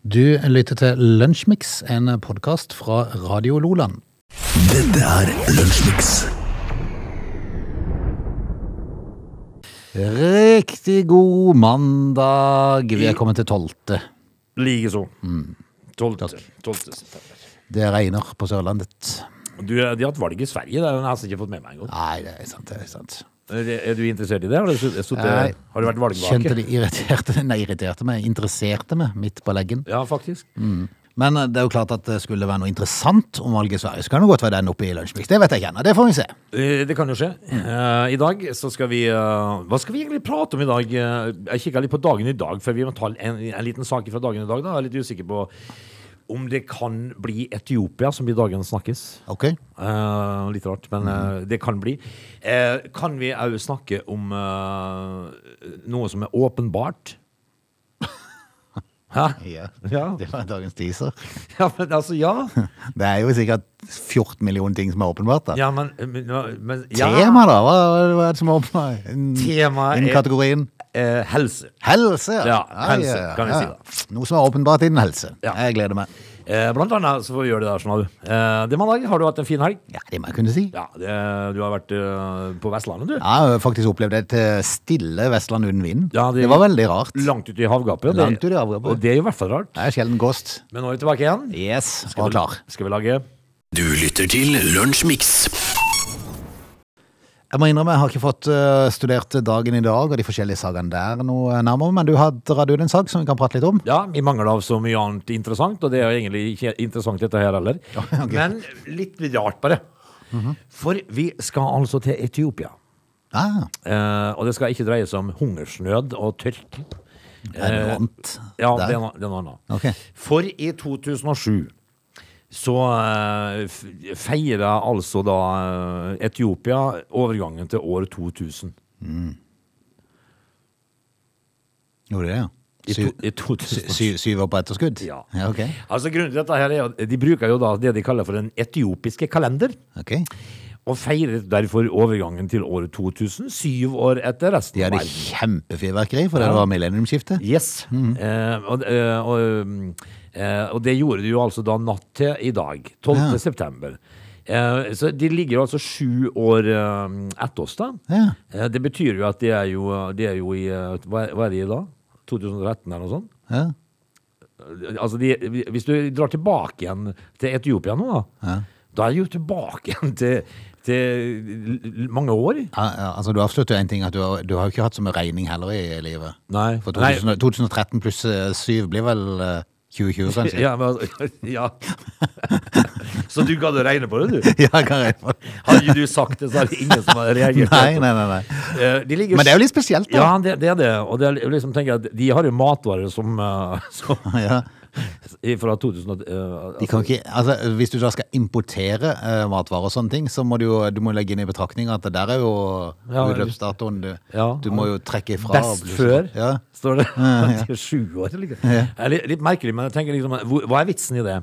Du lytter til Lunsjmix, en podkast fra Radio Loland. Dette er Lunsjmix. Riktig god mandag. Vi er kommet til tolvte. Likeså. Mm. Tolvte. Tolvte september. Det regner på Sørlandet. Du, de har hatt valg i Sverige, det har jeg nesten ikke fått med meg engang. Nei, det er sant. det er sant. Er, er du interessert i det? Har du, sutt- sutt- Nei. har du vært Kjente valgvake? det irriterte Nei, irriterte meg. Interesserte meg midt på leggen. Ja, faktisk. Men eh, det er jo klart at det skulle være noe interessant om valget i Sverige. Så kan det godt være den oppe i Lunsjmix. Det vet jeg ikke ennå. Det får vi se. Eh, Det kan jo skje. Eh, I dag så skal vi eh, Hva skal vi egentlig prate om i dag? Eh, Jeg kikka litt på dagen i dag, før vi må ta en, en liten sak fra dagen i dag. Da. Jeg er litt usikker på om det kan bli Etiopia som blir dagen snakkes. Ok? Eh, litt rart, men Mm. eh, det kan bli. Eh, kan vi òg snakke om eh, noe som er åpenbart? Hæ? Ja. Ja. Det var dagens teaser. Ja, men altså, ja. Det er jo sikkert 14 millioner ting som er åpenbart, da. ja men, men, men ja. Tema, da? Hva, hva er det som er åpenbart? En- Temaet Innen er- kategorien Eh, helse. helse. Ja, helse, kan jeg si da. Noe som er åpenbart innen helse. Ja. Jeg gleder meg. Eh, blant annet så får vi gjøre det der, sånn. du. Eh, det er mandag. Har du hatt en fin helg? Ja, det må jeg kunne si. Ja, det, du har vært eh, på Vestlandet, du. Jeg har faktisk opplevd et eh, stille Vestland uten vind. Ja, det- det... var veldig rart. Langt ute i havgapet. Langt ute i havgapet. Og det er jo i hvert fall rart. Det er sjelden kost. Men nå er vi tilbake igjen. Yes, var vi- klar. Skal vi lage Du lytter til Lunsjmix. Jeg må innrømme, jeg har ikke fått eh, studert dagen i dag og de forskjellige sagene der noe nærmere, men du har dratt ut en sak som vi kan prate litt om. Ja, vi mangler av så mye annet interessant, og det er jo egentlig ikke interessant dette her heller. ok. Mhm. Men litt rart bare. For vi skal altså til Etiopia. Ah, Eh, og det skal ikke dreie seg om hungersnød og tørke. det er noe annet. Eh, Ja, der. det er noe- det er noe annet. Ok. For i 2007 så eh, f- feira altså da eh, Etiopia overgangen til år 2000. Gjorde det, ja. I, Syv, to, i 2007. sy- syv år på etterskudd? Ja. ja ok. Altså Grunnen til dette her er at de bruker jo da det de kaller for den etiopiske kalender. Ok. og feiret derfor overgangen til året 2000, syv år etter resten De av hadde verden. kjempefyrverkeri, for det var millenniumsskiftet. Yes. Mm. Eh, og, eh, og, um, eh, og det gjorde de jo altså da natt til i dag, 12. Ja. september. Eh, så de ligger jo altså sju år eh, etter oss, da. Ja. Eh, det betyr jo at de er jo, de er jo i eh, hva, er- hva er de i dag? 2013 eller noe sånt? Ja. Eh, Altså de, hvis du drar tilbake igjen til Etiopia nå, da, da er de jo tilbake igjen til, til l- l- mange år. Al- Altså, du avslutter jo en ting, at du har, du har jo ikke hatt så mye regning heller i livet. Nei. For Nei. 2000, 2013 pluss 7 blir vel eh, 2020, kanskje? Ja, men, ja. Så du gadd å regne på det, du? ja, kan jeg Hadde ikke du sagt det, så hadde ingen som hadde reagert. Nei, nei, nei, nei. Eh, De ligger Men det er jo litt spesielt, Ja, da. det, det er det. Og det er liksom, tenker jeg, at de har jo matvarer som, eh, som Ja. Fra 2000 eh, De kan jo ikke, altså, hvis du da skal importere eh, matvarer og sånne ting, så må du jo du må legge inn i betraktning at det der er jo Ja, utløpsdatoen. Du, Ja. du må jo trekke ifra. Best altså, før, Ja. står det. Til sju år, liksom. Det er litt, litt merkelig, men jeg tenker liksom hvor- Hva er vitsen i det?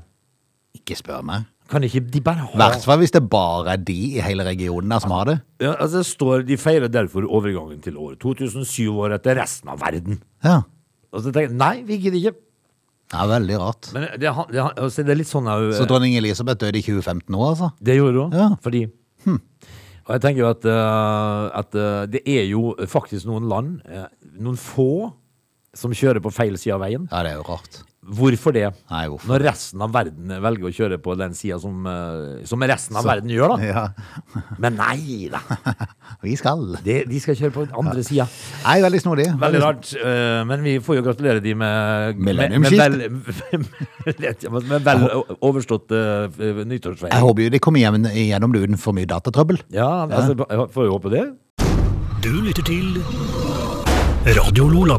Ikke spør meg. Kan ikke de bare ha I hvert fall hvis det bare er de i hele regionen der som har det. ja, altså, det står, De feirer derfor overgangen til år 2007 år etter resten av verden. Ja. Og så tenker jeg, Nei, vi gidder ikke. Det er veldig rart. Men det, han- det, han- altså, det er litt sånn jeg, Så dronning Elisabeth døde i 2015 nå, altså? Det gjorde hun, Ja. Hm. fordi Og jeg tenker jo at, eh, at eh, det er jo faktisk noen land, eh, noen få, som kjører på feil side av veien. Ja, det er jo rart. Hvorfor det? Nei, hvorfor? Når resten av verden velger å kjøre på den sida som, eh, som resten av verden gjør, da. Ja, Men nei da! vi skal. Det, de skal kjøre på den andre sida. Nei, veldig snodig. Veldig rart. eh, Men vi får jo gratulere de med med- med vel- Med vel overstått eh, nyttårsfeiring. Jeg håper jo de kommer hjem igjennom det uten for mye datatrøbbel. Ja, altså, jeg får jo håpe det. Du lytter til Radio Lola.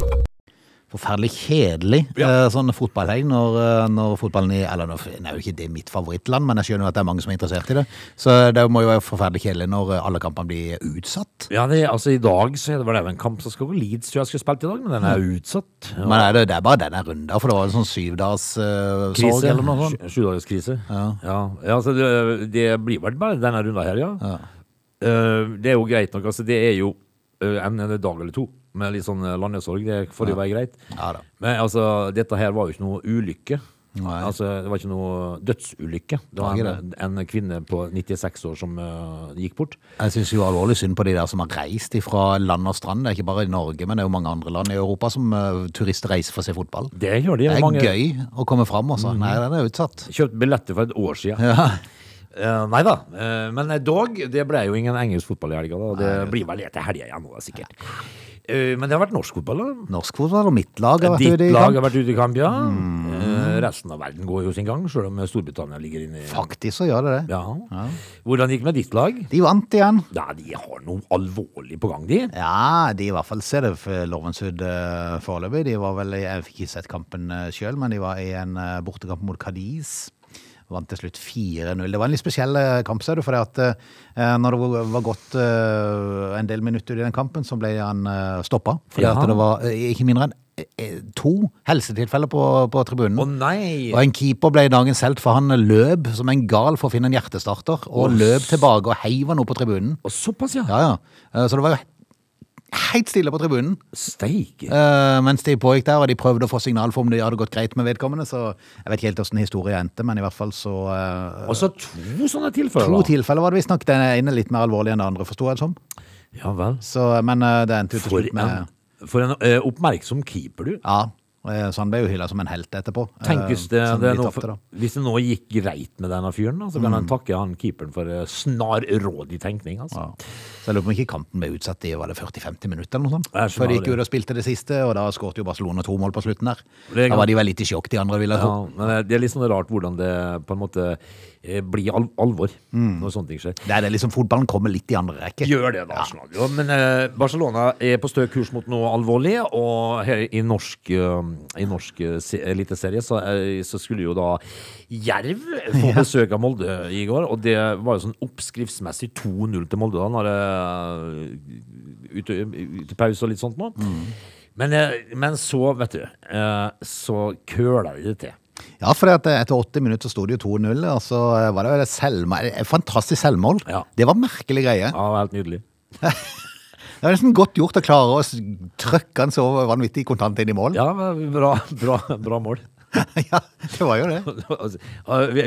Forferdelig kjedelig Ja. eh, sånn fotballhelg når, eh, når fotballen i Eller nå er jo ikke det mitt favorittland, men jeg skjønner jo at det er mange som er interessert i det. Så det må jo være forferdelig kjedelig når eh, alle kampene blir utsatt. Ja, det, altså I dag så er det, var det jo en kamp som skal gå Leeds, tror jeg skulle spilt i dag, men den er jo utsatt. Ja. Men er det, det er bare denne runden, for det var en sånn syvdags eh, sorg eller noe sånt. Sju- Sjudagerskrise. Ja. Ja. altså det, det blir vel bare denne runda her, ja. Eh, det er jo greit nok. altså Det er jo eh, en, en dag eller to. med litt sånn eh, landesorg. Det får jo være greit. Ja da. Men altså, dette her var jo ikke noe ulykke. Nei. Altså, det var ikke noe dødsulykke. Det var Nei, en, en kvinne på 96 år som eh, gikk bort. Jeg syns jo alvorlig synd på de der som har reist fra land og strand. Det er ikke bare i Norge, men det er jo mange andre land i Europa som eh, turister reiser for å se fotball. Det gjør de. Det er mange- Mhm. gøy å komme fram, altså. Nei, den er utsatt. Kjøpt billetter for et år siden. Ja. Eh, nei da. Eh, men dog, det ble jo ingen engelsk fotball i helga. da. Det blir vel etter helga igjen nå, da, sikkert. Eh, men det har vært norsk fotball, da. Norsk fotball og mitt lag har vært Ditt ute i lag kamp. Mm. har vært ute i kamp, ja. Eh, resten av verden går jo sin gang, sjøl om Storbritannia ligger inne i Faktisk så gjør det det. ja. Hvordan gikk det med ditt lag? De vant igjen. Ja, De har noe alvorlig på gang, de. Ja, de i hvert fall ser det for Lovensud foreløpig. De var vel, i- jeg fikk ikke sett kampen sjøl, men de var i en eh, bortekamp mot Cadiz. Vant til slutt 4-0. Det var en litt spesiell eh, kamp, ser du. For at eh, når det var- var gått eh, en del minutter i den kampen, så ble han eh, stoppa. Fordi Jaha. at det var eh, ikke mindre enn eh, to helsetilfeller på, på tribunen. Å nei! Og en keeper ble dagens helt, for han løp som en gal for å finne en hjertestarter. Og løp tilbake og heiv han opp på tribunen. Og såpass, ja. Ja, ja. Eh, Så det var jo helt stille på tribunen Steike. eh, mens de pågikk der, og de prøvde å få signal for om det hadde gått greit med vedkommende. Så jeg vet ikke helt åssen historien endte, men i hvert fall så eh, Altså to sånne tilfeller. To tilfeller var det visstnok. Den ene litt mer alvorlig enn det andre, forsto jeg det som. Ja vel. Så, men eh, det endte jo til For slutt med en, for en eh, oppmerksom keeper, du. Ja. eh, Så han ble jo hylla som en helt etterpå. eh, Tenk hvis det, selv om det de nå, tapte, da. Mm. hvis det nå gikk greit med denne fyren, da, så kan han takke han keeperen for eh, snarrådig tenkning. altså. Ja. Så jeg lurer på om ikke kampen ble utsatt i var det 40-50 minutter eller noe sånt. Jeg skjønner Før de gikk det. ut og spilte det siste, og da skårte jo Barcelona to mål på slutten der. Det er Da galt. var de vel litt i sjokk, de andre, vil jeg tro. Ja, men det er litt sånn rart hvordan det på en måte eh, blir al alvor Mm. når sånne ting skjer. Det er det liksom, fotballen kommer litt i andre rekke. Gjør det, da, Arsenal. Jo, men eh, Barcelona er på stø kurs mot noe alvorlig, og her i norsk, eh, i norsk eh, se- eliteserie så, eh, så skulle jo da Jerv få besøk av Molde i går, og det var jo sånn oppskriftsmessig 2-0 til Molde da, når eh, det ute, ute pause og litt sånt nå. Men, eh, men så, vet du, eh, så køler de det til. Ja, for etter 80 minutter så sto det jo 2-0, og så eh, var det vel et selvmål. et Fantastisk selvmål. Ja. Det var merkelig greie. Ja, det var helt nydelig. Det var nesten godt gjort å klare å s- trøkke han så vanvittig kontant inn i mål. Ja, men bra, bra, bra mål. ja, det var jo det. Altså,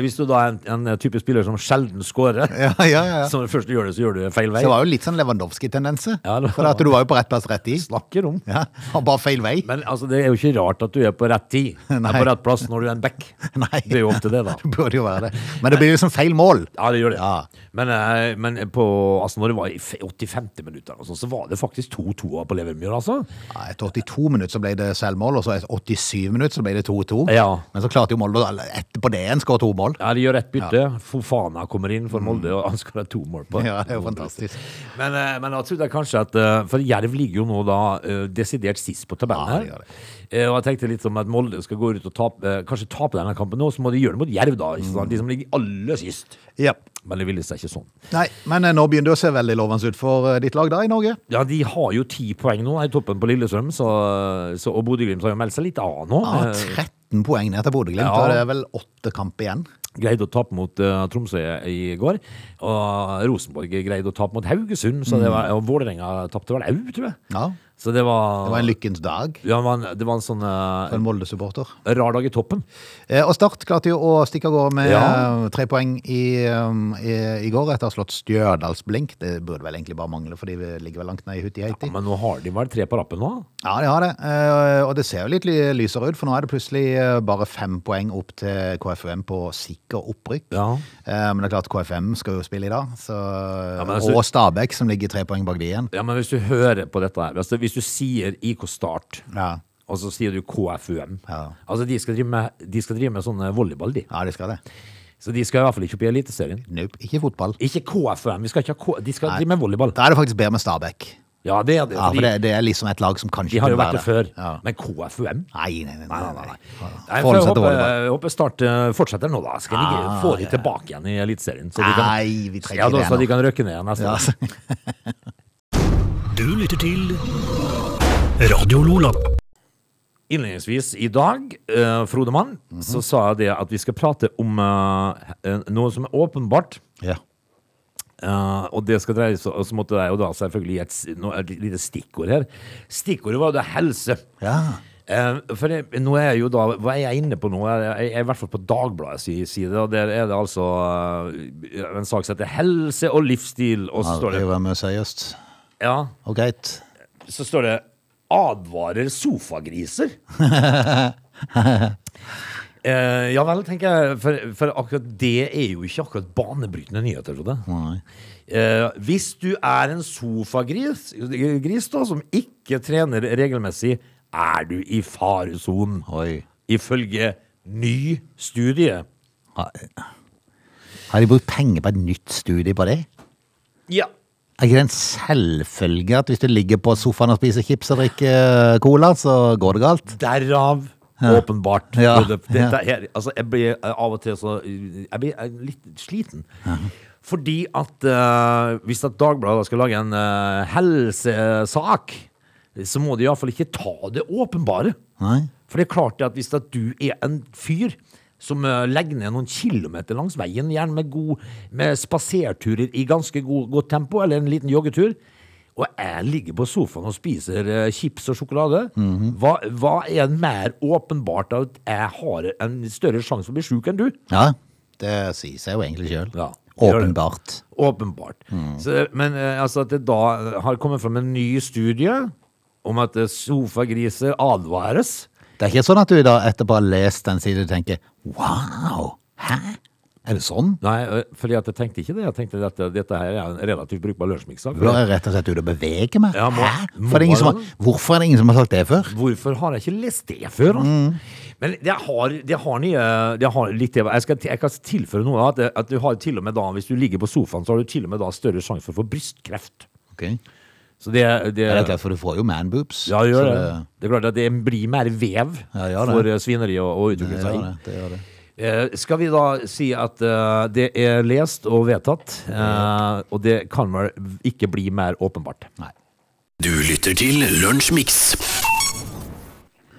Hvis du da er en, en type spiller som sjelden scorer, Ja, ja, ja. ja. så når du først gjør det, så gjør du feil vei. Så det var jo litt sånn Lewandowski-tendense. Ja, det var- For at du var jo på rett plass rett i. Snakker om. Ja, og bare feil vei. Men altså, det er jo ikke rart at du er på rett tid, Nei. er på rett plass når du er en back. Nei. Det er jo ofte det, da. Det burde jo være det. Men det blir liksom feil mål. Ja, det gjør det. Ja. Men, eh, men på, altså, når det var i f- 85 minutter, og sånn, så var det faktisk 2-2 på Levermyr, altså. Ja, etter 82 minutter så ble det selvmål, og så etter 87 minutter så ble det 2-2. Ja. Men så klarte jo Molde å- etterpå det igjen skåre to mål. Ja, de gjør ett bytte. Fofana kommer inn for Molde, og han skårer to mål på Mm. Ja, det er jo fantastisk. Men, eh, men jeg trodde kanskje at eh, For Jerv ligger jo nå da eh, desidert sist på Ja, tabellen det gjør her. Eh, Og jeg tenkte litt om at Molde skal gå ut og tape, eh, kanskje tape denne kampen nå, så må de gjøre det mot Jerv, da. Ikke sant? De som ligger aller sist. Ja. Men det ville seg ikke sånn. Nei, men eh, nå begynner det å se veldig lovende ut for eh, ditt lag da i Norge. Ja, De har jo ti poeng nå i toppen på Lillestrøm, så, så, og Bodø-Glimt har jo meldt seg litt av nå. Ja, Eh, 13 poeng ned til Bodø-Glimt, Ja. og det er vel åtte kamp igjen. greide å tape mot eh, Tromsø i går. Og Rosenborg greide å tape mot Haugesund, så det Mm. var, og Vålerenga tapte vel au, tror jeg. Ja, Så det var, det var en lykkens dag ja, det var en, det var en sånn for en Molde-supporter. eh, rar dag i toppen. Eh, Og Start klarte jo å stikke av gårde med Ja. eh, tre poeng i, um, i, i går etter å ha slått Stjørdals-Blink. Det burde vel egentlig bare mangle, for de ligger vel langt ned i hutt i Ja, Haiti. men nå har de vel tre på rappen nå? Ja, de har det. Eh, Og det ser jo litt ly- lysere ut, for nå er det plutselig eh, bare fem poeng opp til KFUM på sikker opprykk. Ja. Eh, Men det er klart KFM skal jo spille i dag, så... men altså- og Stabæk som ligger tre poeng bak de igjen. Ja, men hvis du hører på dette her, altså, hvis du sier IK Start, Ja. og så sier du KFUM, Ja. altså de skal drive med, de skal drive med sånn volleyball, de. Ja, de skal det. Så de skal i hvert fall ikke opp i Eliteserien. Nope, ikke fotball. Ikke KFUM, vi skal ikke ha K... De skal Nei. drive med volleyball. Da er det faktisk bedre med Stabæk. Ja, det er det. Ja, for fordi det, det er liksom et lag som kanskje De har jo kunne vært det være før. Ja. Men KFUM? Nei, nei, nei. nei, nei, nei. Nei, for Forholde seg jeg, til håper, volleyball. jeg håper Start eh, fortsetter nå, da. Skal de Ah, få de tilbake igjen i Eliteserien? så de kan- Nei, vi trenger ja, da, det så nå. de kan røkke ned neste Ja, år. altså. Du lytter til Radio Lola. Innledningsvis i dag, eh, Frode Mann, så sa jeg det at vi skal prate om eh, eh, noe som er åpenbart Ja. Eh, og det skal dreie seg, og så måtte jeg jo da selvfølgelig gi et, s- nå et lite stikkord her. Stikkordet var det helse. Ja. Eh, for det, nå er jeg jo da, hva er jeg inne på nå? Jeg, jeg, jeg er i hvert fall på Dagbladet si- side, og der er det altså eh, en sak som heter helse og livsstil, og så står det, Aldri være med seriøst. ja, Og greit. så står det advarer sofagriser. Eh, ja vel, tenker jeg, for, for akkurat det er jo ikke akkurat banebrytende nyheter, Frode. Nei. Eh, hvis du er en sofagris gris da, som ikke trener regelmessig, er du i faresonen. Oi. Ifølge ny studie. Har har de brukt penger på et nytt studie på det? Ja. Er ikke det en selvfølge at hvis du ligger på sofaen og spiser chips og drikker eh, cola, så går det galt? Derav, åpenbart. Ja, Frode. Dette er, altså, jeg blir eh, av og til så Jeg blir eh, litt sliten. Fordi at eh, hvis at Dagbladet da skal lage en eh, helsesak, så må de iallfall ikke ta det åpenbare. Nei? For det er klart det at hvis at du er en fyr som eh, legger ned noen kilometer langs veien, gjerne med, god, med spaserturer i ganske god, godt tempo, eller en liten joggetur, og jeg ligger på sofaen og spiser eh, chips og sjokolade, hva, hva er mer åpenbart av at jeg har en større sjanse for å bli sjuk enn du? Ja, det sier seg jo egentlig sjøl. Ja, gjør det. Åpenbart. Åpenbart. Så, men eh, altså at det da har kommet fram en ny studie om at eh, sofagriser advares. Det er ikke sånn at du da etterpå har lest den siden og tenker wow, hæ? Er det sånn? Nei, ø, fordi at jeg tenkte ikke det. Jeg tenkte at dette, dette her er en relativt brukbar lunsjmikssak. Da er jeg rett og slett ute og beveger meg. Ja, må- Hæ? må For det er ingen som har, man det? hvorfor er det ingen som har sagt det før? Hvorfor har jeg ikke lest det før? da? Mm. Men jeg har, jeg har, nye, jeg har litt til. Jeg, skal, jeg kan tilføre noe. At, at du har til og med da, Hvis du ligger på sofaen, så har du til og med da større sjanse for å få brystkreft. Okay. Så det, det, Det er klart, for du får jo man boobs. ja, det så gjør det. Det er klart at det blir mer vev Ja, gjør det. for ø, svineri å å Det utvikle seg gjør i. det, det gjør det. Eh, skal vi da si at eh, det er lest og vedtatt, eh, og det kan vel ikke bli mer åpenbart? Nei. Du lytter til Lunsjmix.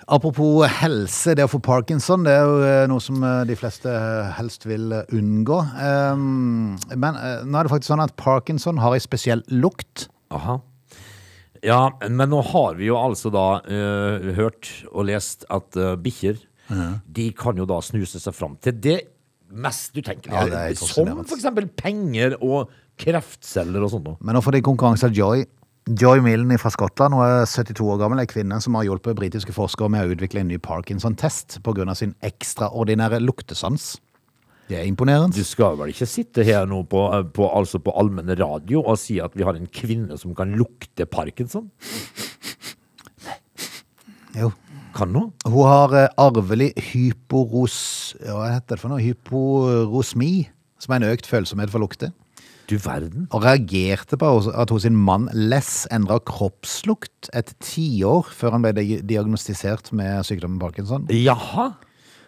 Apropos helse, det å få parkinson det er jo eh, noe som eh, de fleste eh, helst vil eh, unngå. Um, Men eh, nå er det faktisk sånn at parkinson har ei spesiell lukt. Aha. Ja, men nå har vi jo altså da eh, hørt og lest at uh, bikkjer de kan jo da snuse seg fram til det mest utenkelige. Ja, det er helt som fascinerende. for eksempel penger og kreftceller og sånt noe. Men nå får de konkurranse av Joy. Joy Millen fra Skottland hun er 72 år gammel, er kvinne som har hjulpet britiske forskere med å utvikle en ny parkinson-test pga. sin ekstraordinære luktesans. Det er imponerende. Du skal vel ikke sitte her nå på, eh, på, altså på allmenn radio og si at vi har en kvinne som kan lukte parkinson? Jo. Kan hun? Hun har eh, arvelig hyporos... Hva heter det for noe? Hyporosmi, som er en økt følsomhet for lukter. Du verden. og reagerte på at hos sin mann Les endra kroppslukt et tiår før han ble di- diagnostisert med sykdommen parkinson. Jaha.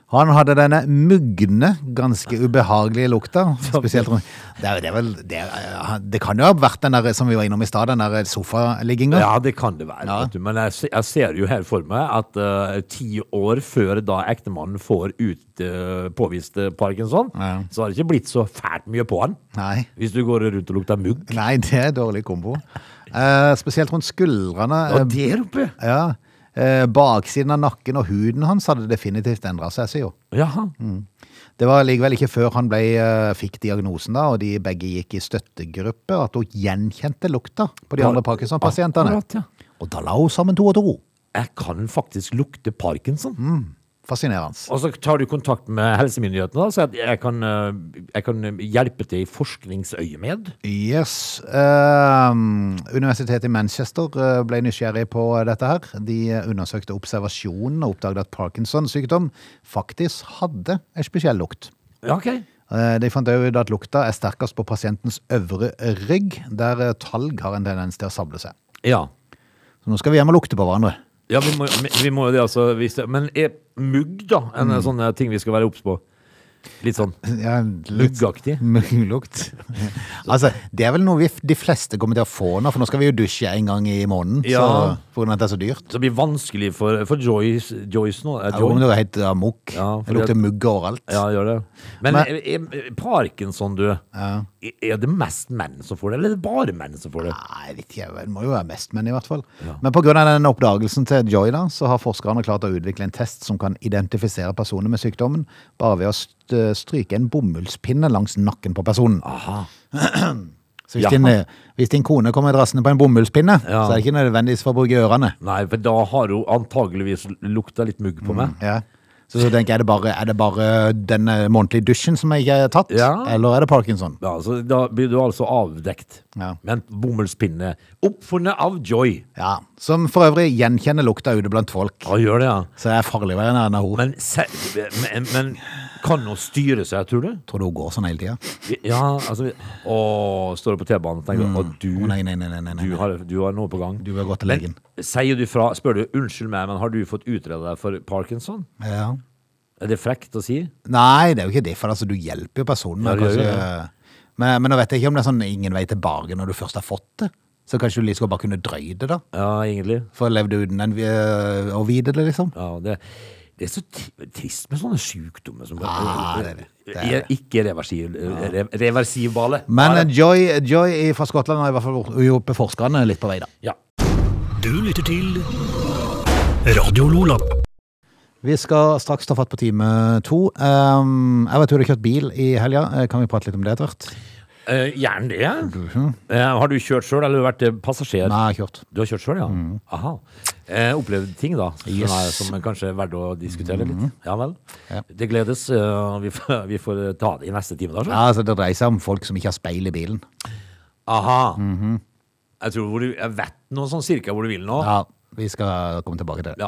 Han hadde denne mugne, ganske ubehagelige lukta. spesielt rundt. Det, er, det, er vel, det, er, det kan jo ha vært den der som vi var innom i stad, den der sofaligginga. Ja, det kan det være. Vet du. Men jeg, se- jeg ser jo her for meg at eh, ti år før da ektemannen får ut eh, påvist eh, parkinson, Ja. så har det ikke blitt så fælt mye på han. Nei. Hvis du går rundt og lukter mugg. Nei, det er dårlig kombo. Eh, spesielt rundt skuldrene. Og eh, der oppe! ja. Eh, baksiden av nakken og huden hans hadde definitivt endra seg, sier hun. Jaha. Det var likevel ikke før han ble, eh, fikk diagnosen, da, og de begge gikk i støttegruppe, at hun gjenkjente lukta på de Ja, andre Parkinson-pasientene. akkurat, ja. Og da la hun sammen to og to. Jeg kan faktisk lukte parkinson. Fascinerende. Og så tar du kontakt med helsemyndighetene og sier at jeg kan, eh, jeg kan hjelpe til i forskningsøyemed. Yes. ehm, Universitetet i Manchester eh, ble nysgjerrig på dette her. De undersøkte observasjonen og oppdaget at Parkinson-sykdom faktisk hadde en spesiell lukt. Ja, ok. Eh, De fant også ut at lukta er sterkest på pasientens øvre rygg, der eh, talg har en tendens til å sable seg. Ja. Så nå skal vi hjem og lukte på hverandre. Ja, Mm. vi må, vi må jo det, altså. Hvis det, men er mugg, da, en sånn ting vi skal være obs på? Litt sånn Ja, litt muggaktig. Mugglukt. altså, det er vel noe vi, de fleste kommer til å få nå, for nå skal vi jo dusje en gang i måneden. Ja. Så, for grunn av at det er så dyrt. Så det blir vanskelig for, for Joyce, Joyce nå. eh, Ja, Joy. Rommet er helt amok. Ja, det fordi at- lukter mugg overalt. Ja, gjør det. Men, Men- er, er, Parkinson, du. Er det mest menn som får det, eller er det bare menn som får det? Nei, jeg vet ikke, det må jo være mest menn i hvert fall. Men på grunn av den oppdagelsen til Joy da, så har forskerne klart å utvikle en test som kan identifisere personer med sykdommen, bare ved å st- stryke en bomullspinne langs nakken på personen. Aha. Så hvis, din, eh, hvis din kone kommer drassende på en bomullspinne, Ja. så er det ikke nødvendigvis for å bruke ørene. Nei, for da har hun antageligvis lukta litt mugg på meg. Ja. Så, så tenker jeg, er det, bare, er det bare denne månedlige dusjen som jeg ikke har tatt? Ja. Eller er det Parkinson? Ja, så Da blir du altså avdekt. Ja. Med en bomullspinne. Oppfunnet av Joy. Ja, som for øvrig gjenkjenner lukta ute blant folk. Ja, gjør det, ja. Så det er farlig å være nær henne. Men, se, men, men kan hun styre seg, tror du? Tror du hun går sånn hele tida? Ja, altså Å, står du på T-banen Mm. og tenker at du, Å, nei, nei, nei, nei, nei, nei. du, har, du har noe på gang. Du bør gå til Men legen. Sier du fra, spør du 'unnskyld meg, men har du fått utreda deg for parkinson'? Ja. Er det frekt å si? Nei, det er jo ikke det, for altså, du hjelper jo personen. Ja, og du gjør kanskje, det, men, men nå vet jeg ikke om det er sånn ingen vei tilbake når du først har fått det. Så kanskje du like godt bare kunne drøye det, da. Ja, egentlig. For å leve det uten en, øh, å vite det, liksom. Ja, det, det er så tri- trist med sånne sykdommer som Ja, det er det. Det er det. Ikke reversiv, re, reversivbale. Men Ja, eh, Joy, Joy fra Skottland har i hvert fall gjort- hjulpet forskerne litt på vei, da. ja. Du lytter til Radio Lola. Vi skal straks ta fatt på time to. Ehm, jeg vet du har kjørt bil i helga. Eh, Kan vi prate litt om det etter hvert? Eh, gjerne det. Eh, har du kjørt sjøl, eller har du vært eh, passasjer? Mhm. Nei, jeg har kjørt. Du har kjørt sjøl, ja? Aha. Eh, opplevd ting, da, som, Yes. Mhm. er, som er kanskje er verdt å diskutere litt. Ja vel. Ja. Det gledes. eh, vi, får, vi får ta det i neste time, da. så. Ja, altså, det dreier seg om folk som ikke har speil i bilen. Aha. Jeg tror hvor du, jeg vet noe sånn cirka hvor du vil nå. Mhm. Ja, Ja. Vi skal komme tilbake til det.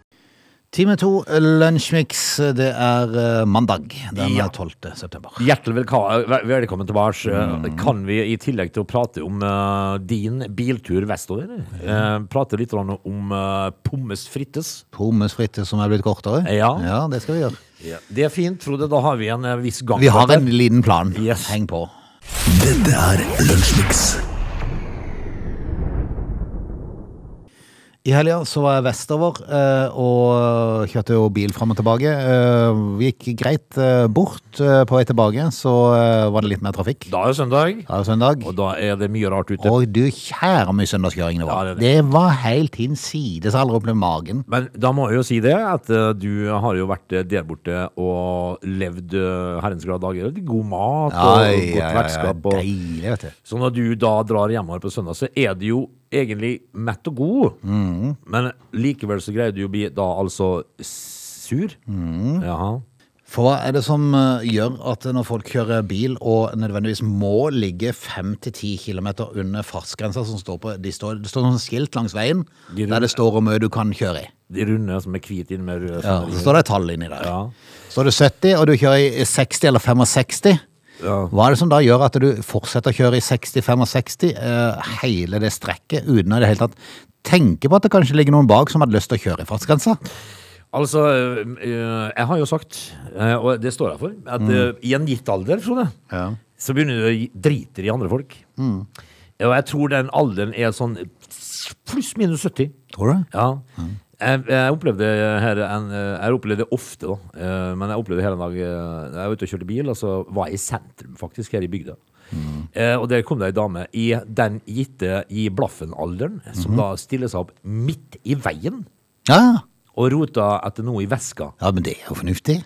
Time to Lunsjmix, det er eh, mandag den Ja. 12. september. Hjertelig velka- vel- velkommen tilbake. Kan vi i tillegg til å prate om eh, din biltur vestover, eh, prate litt grann om eh, pommes frites? Pommes frites som er blitt kortere. Ja. det skal vi gjøre. Det er fint, Frode. Da har vi en eh, viss gang. Vi på har dette. en liten plan. Yes. Heng på. Dette er Lunsjmix. I helga så var jeg vestover eh, og kjørte jo bil fram og tilbake. Eh, Vi gikk greit eh, bort. Eh, På vei tilbake så eh, var det litt mer trafikk. Da er det søndag, Da er det søndag. og da er det mye rart ute. Og du kjære mye søndagskjøring det var. Ja, det er det. var helt hinsides. Aldri opplevd magen. Men da må jeg jo si det, at eh, du har jo vært eh, der borte og levd eh, herrens glade dager. God mat og Ai, ai, godt ai, vertskap. Og... Deilig, vet du. Så når du da drar hjem her på søndag, så er det jo egentlig mett og god. Mm. Men likevel så greier du å bli da altså sur. Mm. Jaha. For hva er det som eh, gjør at når folk kjører bil og nødvendigvis må ligge 5-10 km under fartsgrensa som står på de står, Det står sånn skilt langs veien De runde- der det står hvor mye du kan kjøre i. De runde som er hvite inni med røde Ja, sånne- så står det et tall inni der. Ja. Står det 70, og du kjører i 60 eller 65, Ja. hva er det som da gjør at du fortsetter å kjøre i 60-65 hele det strekket uten å i det hele tatt tenke på at det kanskje ligger noen bak som hadde lyst til å kjøre i fartsgrensa? Altså, øh, øh, jeg har jo sagt, øh, og det står jeg for, at Mm. øh, i en gitt alder, Frode, Ja. så begynner du å gi- drite i andre folk. Mm. Og jeg tror den alderen er sånn pluss minus 70. Tror du? Ja. Jeg, jeg opplevde her en, eh, Jeg opplevde det ofte, da. eh, Men jeg opplevde her en dag eh, Jeg var ute og kjørte bil, og så var jeg i sentrum, faktisk, her i bygda. Eh, og der kom det ei dame i den gitte gi blaffen-alderen, som da stiller seg opp midt i veien Ja, og rota etter noe i veska. ja men det er jo fornuftig.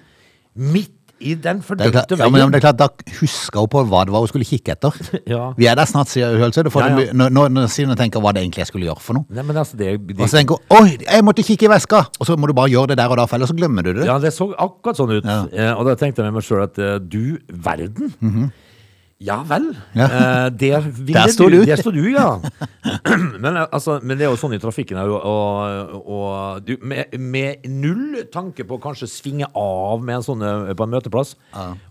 Midt i den Det er klart, fordømte ja, men det veien! er klart, da husker hun på hva det var hun skulle kikke etter. Ja. Vi er der snart, sier hun selv, så du får Ja, ja. den by- nå- nå- nå sier hun og tenker hva det egentlig jeg skulle gjøre for noe. Nei, men altså, det, det Og så tenker hun, oi, jeg måtte kikke i veska! Og så må du bare gjøre det der og da, for ellers så glemmer du det. Ja, det så akkurat sånn ut. Ja. Eh, og da tenkte jeg med meg sjøl at eh, du verden. Ja vel. Mhm. Ja. Eh, der, ville Der står du. Der står du, ja. men, eh, altså, men det er jo sånn i trafikken her, og, og du, med, med null tanke på å kanskje svinge av med en sånn eh, på en møteplass,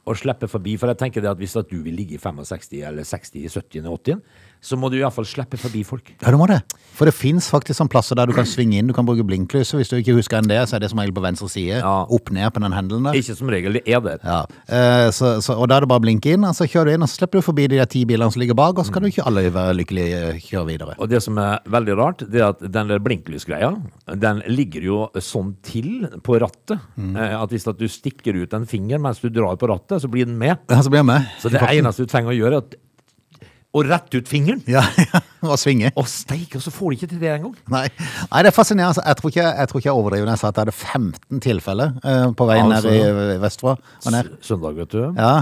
og slippe forbi. For jeg tenker det at hvis at du vil ligge i 65 eller 60, 70 eller 80, så må du iallfall slippe forbi folk. Ja, du må det. For det fins faktisk sånne plasser der du kan svinge inn, du kan bruke blinklyset. Hvis du ikke husker enn det, så er det som regel på venstre side. Ja. Opp ned på den hendelen der. Ikke som regel, det er det. Ja. Eh, så, så, og da er det bare å blinke inn, og så kjører du inn, og så slipper du forbi de der ti bilene som ligger bak, og så kan du ikke alle være lykkelige eh, kjøre videre. Og det som er veldig rart, det er at den der blinklysgreia, den ligger jo sånn til på rattet, eh, at hvis at du stikker ut en finger mens du drar på rattet, så blir den med. Ja, så blir jeg med. Så det eneste du trenger å gjøre, er at, å rette ut fingeren. Ja, ja. Og svinge. Å steike, og så får du ikke til det engang. Nei. Nei, det er fascinerende. Altså, Jeg tror ikke jeg, tror ikke jeg overdriver når jeg sa at jeg hadde 15 tilfeller eh, på veien Altså, ned i Vestfold. og ned. S- Søndag, vet du. Ja.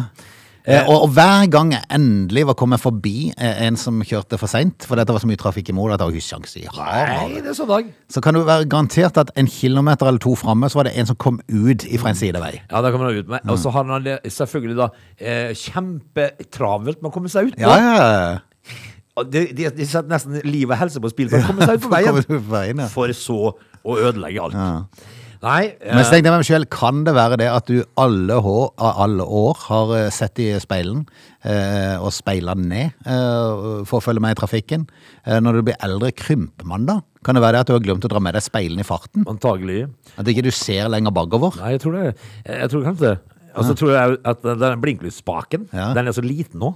Eh, og, og hver gang jeg endelig var kommet forbi eh, en som kjørte for seint, for dette var så mye trafikk imot at jeg hadde ikke sjans i Nei, havet, det er søndag. så kan du være garantert at en kilometer eller to framme, så var det en som kom ut fra en sidevei. Ja, da kommer han ut med. Og så har han det selvfølgelig da eh, kjempetravelt med å komme seg ut. Ja, ja, ja. Og De, de, de setter nesten liv og helse på spill for å komme seg ut på veien. Kommer du på veien, ja. For så å ødelegge alt. Nei, eh, Men så tenkte jeg meg selv, kan det være det at du alle, hår, av alle år har eh, sett i speilen eh, og speila ned eh, for å følge med i trafikken? Eh, når du blir eldre, krymper man da? Kan det være det at du har glemt å dra med deg speilen i farten? antagelig. At ikke du ser lenger bakover? Nei, jeg tror det. Jeg jeg tror kanskje det. Og så tror jeg at den blinklyssspaken, Ja. Mhm. den er så liten nå,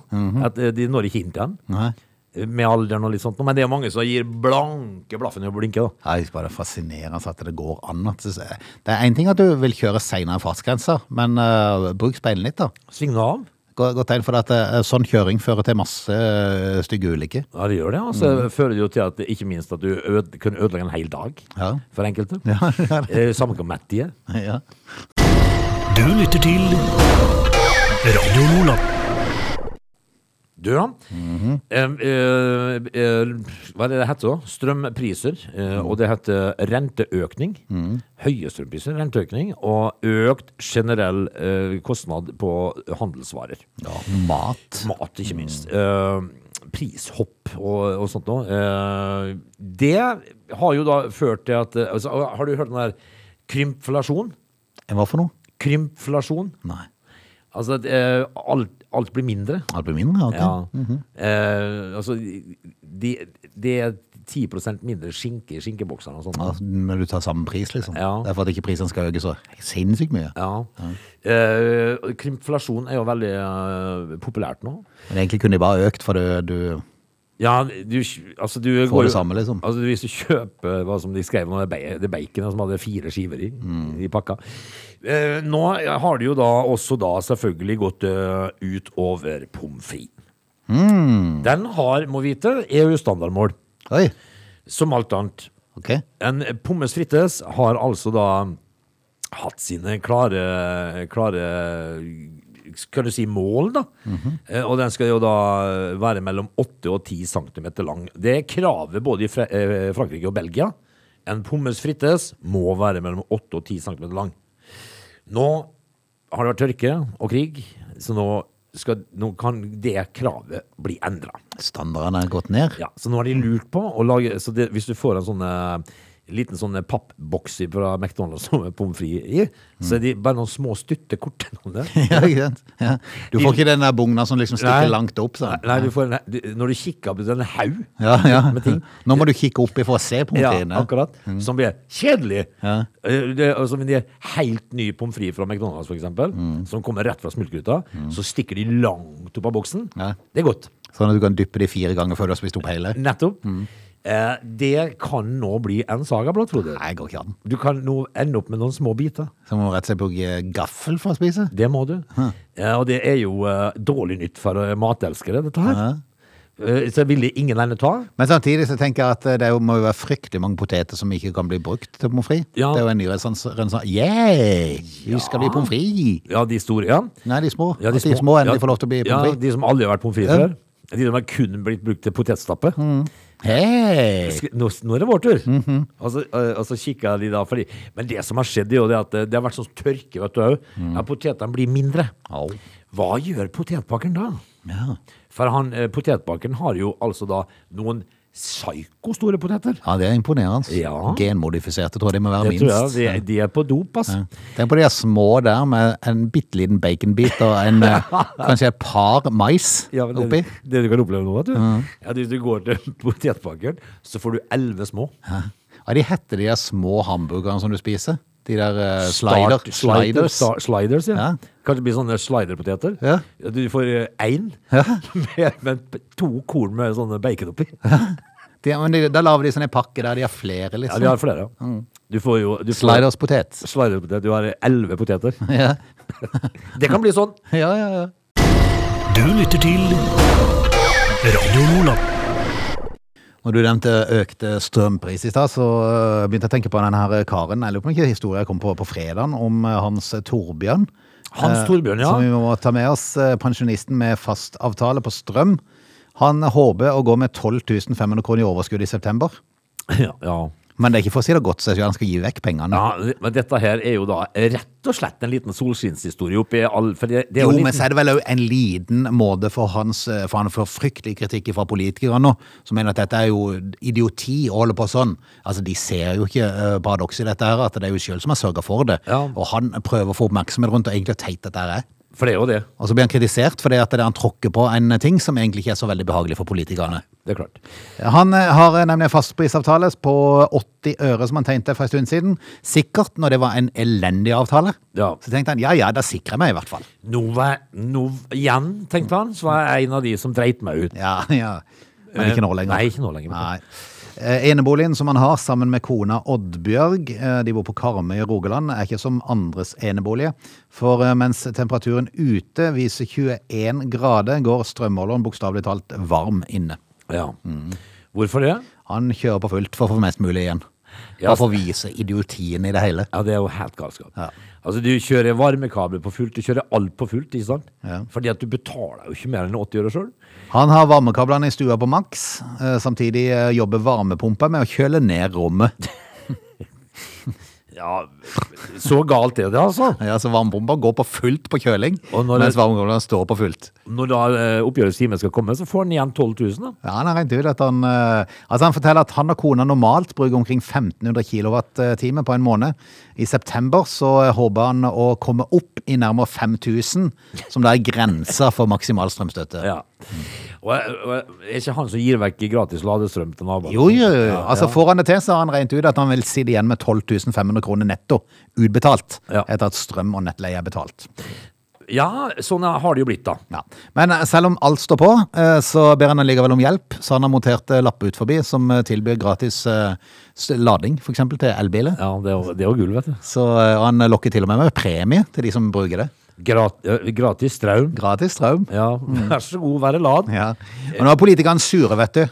at eh, de når ikke inn til den. Nei. Med alderen og litt sånt. nå, Men det er mange som gir blanke blaffen i å blinke, da. Nei, det er bare fascinerende at det går an. At det det er én ting at du vil kjøre seinere enn fartsgrensa, men eh, bruk speilen litt, da. Svingne av. Godt godt tegn for at eh, sånn kjøring fører til masse eh, stygge ulykker. Ja, det gjør det. altså. Mhm. Fører det jo til at ikke minst at du øde, kunne ødelegge en hel dag Ja. for enkelte. Ja, det er Eh, Sammenkommettige. Ja. Du lytter til Radio Lola. Du, da. eh, eh, eh, hva er det det heter da? Strømpriser. Eh, og det heter renteøkning. Høye strømpriser, renteøkning. Og økt generell eh, kostnad på handelsvarer. Mat. Mat, ikke minst. Eh, prishopp og, og sånt noe. Eh, det har jo da ført til at eh, altså, Har du hørt den der krympflasjon? Hva for noe? Krympflasjon. Nei. Altså at eh, alt, alt blir mindre. Ja, Det blir mindre, ok. Mhm. Ja. eh, altså, det de er 10 mindre skinke i skinkeboksene og sånt. Ja, men du tar samme pris, liksom. Ja. Det er for at ikke prisen skal øke så sinnssykt mye. Ja. Eh, og krympflasjon er jo veldig eh, populært nå. Men egentlig kunne de bare økt, for du, du Ja, du, altså du får går jo- det samme, liksom. Altså, hvis du kjøper hva som de skrev nå, det ba- det baconet som hadde fire skiver i, Mm. i pakka. Eh, nå har det jo da også da selvfølgelig gått eh, ut over pommes frites. Mm. Den har, må vite, EU-standardmål, Oi, som alt annet. ok. En pommes frites har altså da hatt sine klare, klare kan du si mål, da? Eh, Og den skal jo da være mellom 8 og 10 cm lang. Det er kravet både i Fra- eh, Frankrike og Belgia. En pommes frites må være mellom 8 og 10 cm lang. Nå har det vært tørke og krig, så nå, skal, nå kan det kravet bli endra. Standardene er gått ned. Ja, så nå har de lurt på å lage Så det, hvis du får en sånn eh, liten sånn eh, pappboks i fra McDonald's som er pommes frites i, så er de bare noen små stuttekort. Noe der. Ja, ikke sant? Ja. Du får ikke den der bugna som liksom stikker Nei. langt opp, sånn. Nei, du får en, du, når du kikker på den haug Ja, ja. med ting Nå må du kikke opp for å se på ja, motivene. akkurat. Som blir kjedelig. Mm. Ja. Eh, Det, altså, men de er helt ny pommes frites fra McDonald's, for eksempel, Mm. som kommer rett fra smultgryta. Så stikker de langt opp av boksen. Ja. Det er godt. Sånn at du kan dyppe de fire ganger før du har spist opp hele. Nettopp. Mm. Eh, det kan nå bli en saga, blå, tror du. Nei, går ikke an. Du kan nå ende opp med noen små biter. Så må du rett og slett bruke gaffel for å spise. Det må du. Eh, og det er jo eh, dårlig nytt for eh, matelskere, dette her. Eh, så vil det ingen ende ta. Men samtidig så tenker jeg at eh, det er jo- må jo være fryktelig mange poteter som ikke kan bli brukt til pommes frites. Ja. Det er jo en ny renessanse. renessanse. Yeah! Nå skal vi pommes frites! Ja, de store, ja. Nei, de små. ja At de små endelig får lov til å bli pommes Ja, frites. de som aldri har vært pommes frites Ja. Mm. før. De som har kun blitt brukt til potetstappe. Hei! Sk- Nå, nå er det vår tur. Mhm. og, så, eh, og så kikker de da, fordi Men det som har skjedd, er jo det at eh, det har vært sånn tørke, vet du òg. At potetene blir mindre. Mm. Au. Hva gjør potetpakkeren da? Ja. For han, eh, potetbakeren har jo altså da noen psykostore poteter. Ja, det er imponerende. Ja. Genmodifiserte tror jeg det må være Det tror jeg, minst. de, de er på dop, ass. Tenk på de der små der med en bitte liten baconbit og en, eh, kanskje et par mais Ja, men oppi. det, det du kan oppleve nå, vet du. Ja, Hvis du går til potetbakeren, så får du elleve små. Ja. Hva de heter de der små hamburgerne som du spiser? De der eh, slider, Start- slider- sliders. sta- sliders, ja. Ja. Kanskje det blir sånne sliderpoteter. Ja. Du får eh, én, med, med to korn med sånne bacon oppi. De, men de, da lager de sånne pakke der de har flere, Ja, liksom. de har flere. ja. Du får jo du får, Sliders potet. Sliderpotet. Du har elleve poteter. Ja. Det kan bli sånn. ja, ja, ja. Du lytter til Radio Lola. Når du nevnte økte strømpris i stad, så øh, begynte jeg å tenke på denne her karen. Jeg lurer på om ikke historien kom på på fredagen om øh, Hans Torbjørn. Hans Eh, Torbjørn, ja. Som vi må ta med oss. eh, Pensjonisten med fastavtale på strøm. Han håper å gå med 12 500 kroner i overskudd i september. Ja, ja. Men det er ikke for å si det godt, så jeg tror han skal gi vekk pengene. ja, Men dette her er jo da rett og slett en liten solskinnshistorie oppi all for det, det er Jo, en men liten- så er det vel òg en liten måte for hans eh, For han får fryktelig kritikk fra politikere nå, som mener at dette er jo idioti å holde på sånn. Altså, De ser jo ikke eh, paradokset i dette her, at det er jo sjøl som har sørga for det. Ja. Og han prøver å få oppmerksomhet rundt og egentlig hvor teit dette her er. For det er jo det. Og så blir han kritisert fordi at det er han tråkker på en ting som egentlig ikke er så veldig behagelig for politikerne. Det er klart. Han eh, har eh, nemlig en fastprisavtale på 80 øre som han tegnte for en stund siden. Sikkert når det var en elendig avtale. Ja. Så tenkte han ja ja, da sikrer jeg meg i hvert fall. Nå var, nå, igjen, tenkte han, så var jeg en av de som dreit meg ut. Ja, ja. Men ikke nå lenger. Eh, Nei, ikke nå lenger. Nei. Eh, Eneboligen som han har sammen med kona Oddbjørg, eh, de bor på Karmøy i Rogaland, er ikke som andres enebolig. For eh, mens temperaturen ute viser 21 grader, går strømmåleren bokstavelig talt varm inne. Ja. Mm. Hvorfor det? Han kjører på fullt for å få mest mulig igjen. Ja. Bare for å vise idiotien i det hele. Ja, det er jo helt galskap. Ja. Altså, du kjører varmekabel på fullt, du kjører alt på fullt, ikke sant? Ja. Fordi at du betaler jo ikke mer enn 80 øre sjøl. Han har varmekablene i stua på maks. eh, Samtidig eh, jobber varmepumpa med å kjøle ned rommet. Ja, så galt er det, altså. Ja, så varmepumpa går på fullt på kjøling, Og når det- mens varmekablene står på fullt. Når da eh, oppgjørets time skal komme, så får han igjen 12 000, da. Ja, han har regnet ut at han eh, Altså han forteller at han og kona normalt bruker omkring 1500 kWh på en måned. I september så eh, håper han å komme opp i nærmere 5000, som da er grensa for maksimal strømstøtte. Ja. Og, og er ikke han som gir vekk gratis ladestrøm til naboen? Jo, jo, jo. Ja, altså ja. Får han det til, så har han regnet ut at han vil sitte igjen med 12 500 kroner netto utbetalt. Ja. Etter at strøm og nettleie er betalt. Ja, sånn har det jo blitt, da. Ja. Men eh, selv om alt står på, eh, så ber han allikevel om hjelp. Så han har montert eh, lapp ut forbi som eh, tilbyr gratis eh, s- lading, f.eks. til elbiler. Ja, det er jo- det er jo gull, vet du. Så eh, han lokker til og med med premie til de som bruker det. Grat, eh, gratis strøm. Gratis strøm. Ja, Mm. vær så god, være lad. Ja. Og nå er politikerne sure, vet du.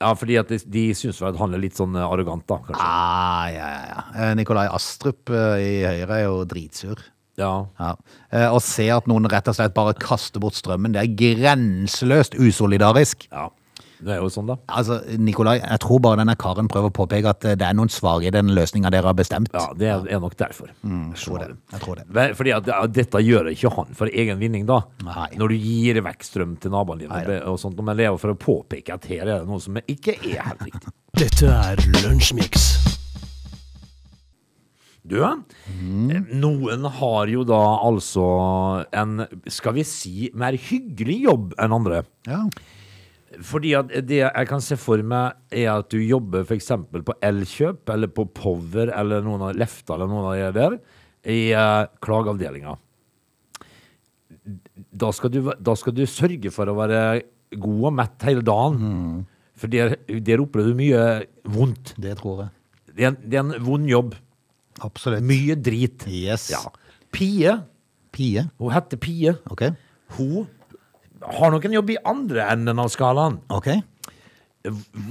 Ja, fordi at de, de syns vel at han er litt sånn eh, arrogant, da, kanskje. Ah, ja, ja, ja. Eh, Nikolai Astrup eh, i Høyre er jo dritsur. Ja. Ja. Eh, Å se at noen rett og slett bare kaster bort strømmen, det er grenseløst usolidarisk. ja. Det er jo sånn, da. Altså, Nikolai, jeg tror bare denne karen prøver å påpeke at eh, det er noen svare i den løsninga dere har bestemt. Ja, det er, er nok derfor. Mm, jeg tror det. Jeg tror det. Vel, Fordi at ja, dette gjør ikke han for egen vinning, da. Nei. Når du gir vekk strøm til naboene dine og sånt, men det er jo for å påpeke at her er det noe som ikke er helt riktig. Dette er Lunsjmix. Du, eh, Mm. noen har jo da altså en, skal vi si, mer hyggelig jobb enn andre. Ja. Fordi at det jeg kan se for meg er at du jobber for eksempel på Elkjøp, eller på Power, eller noen av Lefta, eller noen av de der, i eh, klageavdelinga. Da skal, du, da skal du sørge for å være god og mett hele dagen. For der, der opplever du mye vondt. Det tror jeg. Det er, en, det er en vond jobb. Absolutt. Mye drit. Yes. Ja. Pie, Pie. hun heter Pie, Ok. hun har nok en jobb i andre enden av skalaen. Ok.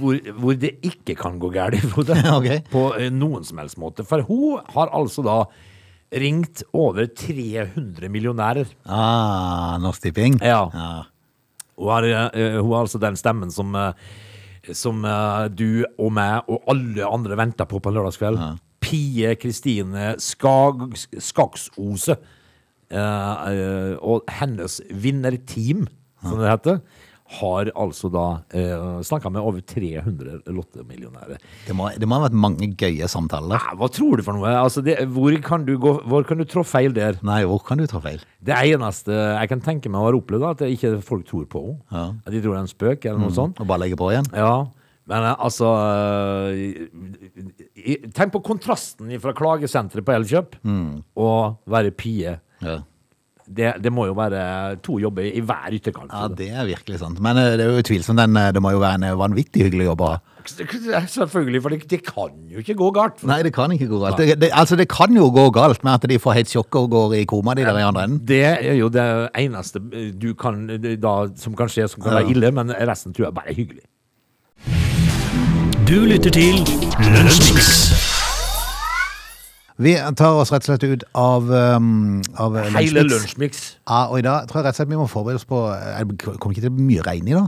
hvor, hvor det ikke kan gå galt, Frode. Ok. På eh, noen som helst måte. For hun har altså da ringt over 300 millionærer. Ah, Norsk Tipping. Ah. Ja. ja. Hun har, eh, hun har altså den stemmen som, eh, som eh, du og meg og alle andre venter på på en lørdagskveld. Pie Kristine Skag, Skaksose. Eh, eh, og hennes vinnerteam som det heter, har altså da eh, snakka med over 300 lottemillionærer. Det må, det må ha vært mange gøye samtaler. Nei, Ah, Hva tror du for noe? Altså, det, hvor, kan du gå, hvor kan du trå feil der? Nei, hvor kan du ta feil? Det eneste jeg kan tenke meg å ha opplevd, da, at det ikke folk tror på henne. Ja. Mm. At de tror det er en spøk, eller noe sånt. Og bare legge på igjen? Ja, men eh, altså eh, i- Tenk på kontrasten fra klagesenteret på Elkjøp Mm. og være pie. Ja. Det, det må jo være to jobber i hver ytterkant. Ja, det er virkelig sant. Men eh, det er jo utvilsomt den eh, Det må jo være en eh, vanvittig hyggelig jobb å ha. Selvfølgelig, for det, det kan jo ikke gå galt. Nei, det kan ikke gå galt. Det, det, altså, det kan jo gå galt med at de får helt sjokk og går i koma, de der i andre enden. Det er jo det eneste du kan, da, som kan skje som kan være ille, men resten tror jeg bare er hyggelig. Du lytter til Lunsjmix. Vi tar oss rett og slett ut av, um, av eh, Hele Lunsjmix. lunsjmix. Ja, og i dag tror jeg rett og slett vi må forberede oss på eh, Det kommer ikke til å bli mye regn i dag.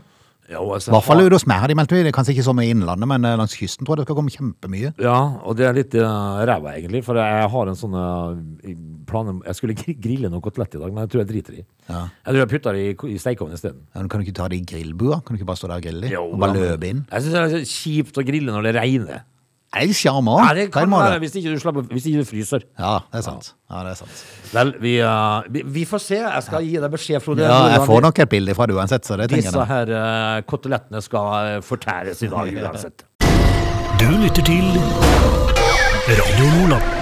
Ja, og I altså, hvert fall ute hos meg har de meldt. Det er kanskje ikke så mye i innlandet, men eh, langs kysten tror jeg det skal komme kjempemye. Ja, og det er litt eh, ræva, egentlig. For jeg har en sånn eh, plan om Jeg skulle gri- grille noe kotelett i dag, men jeg tror jeg driter i. Ja. Jeg tror jeg putter det i, ko- i stekeovnen isteden. Ja, men kan du ikke ta det i grillbua? Kan du ikke bare stå der og grille de? Jo, Og bare da, men- løpe inn? Jeg syns det er så kjipt å grille når det regner. Er det sjarm òg? Ja, det kan være hvis ikke du, slapper, hvis ikke du fryser. Ja, det er sant. Ja, det er sant. Vel, vi, eh, vi, vi får se. Jeg skal gi deg beskjed, Frode. Ja, jeg hvordan får det- nok et bilde fra det uansett, så det trenger Disse jeg. her eh, kotelettene skal eh, fortæres i dag uansett. Du lytter til Radio Nordland.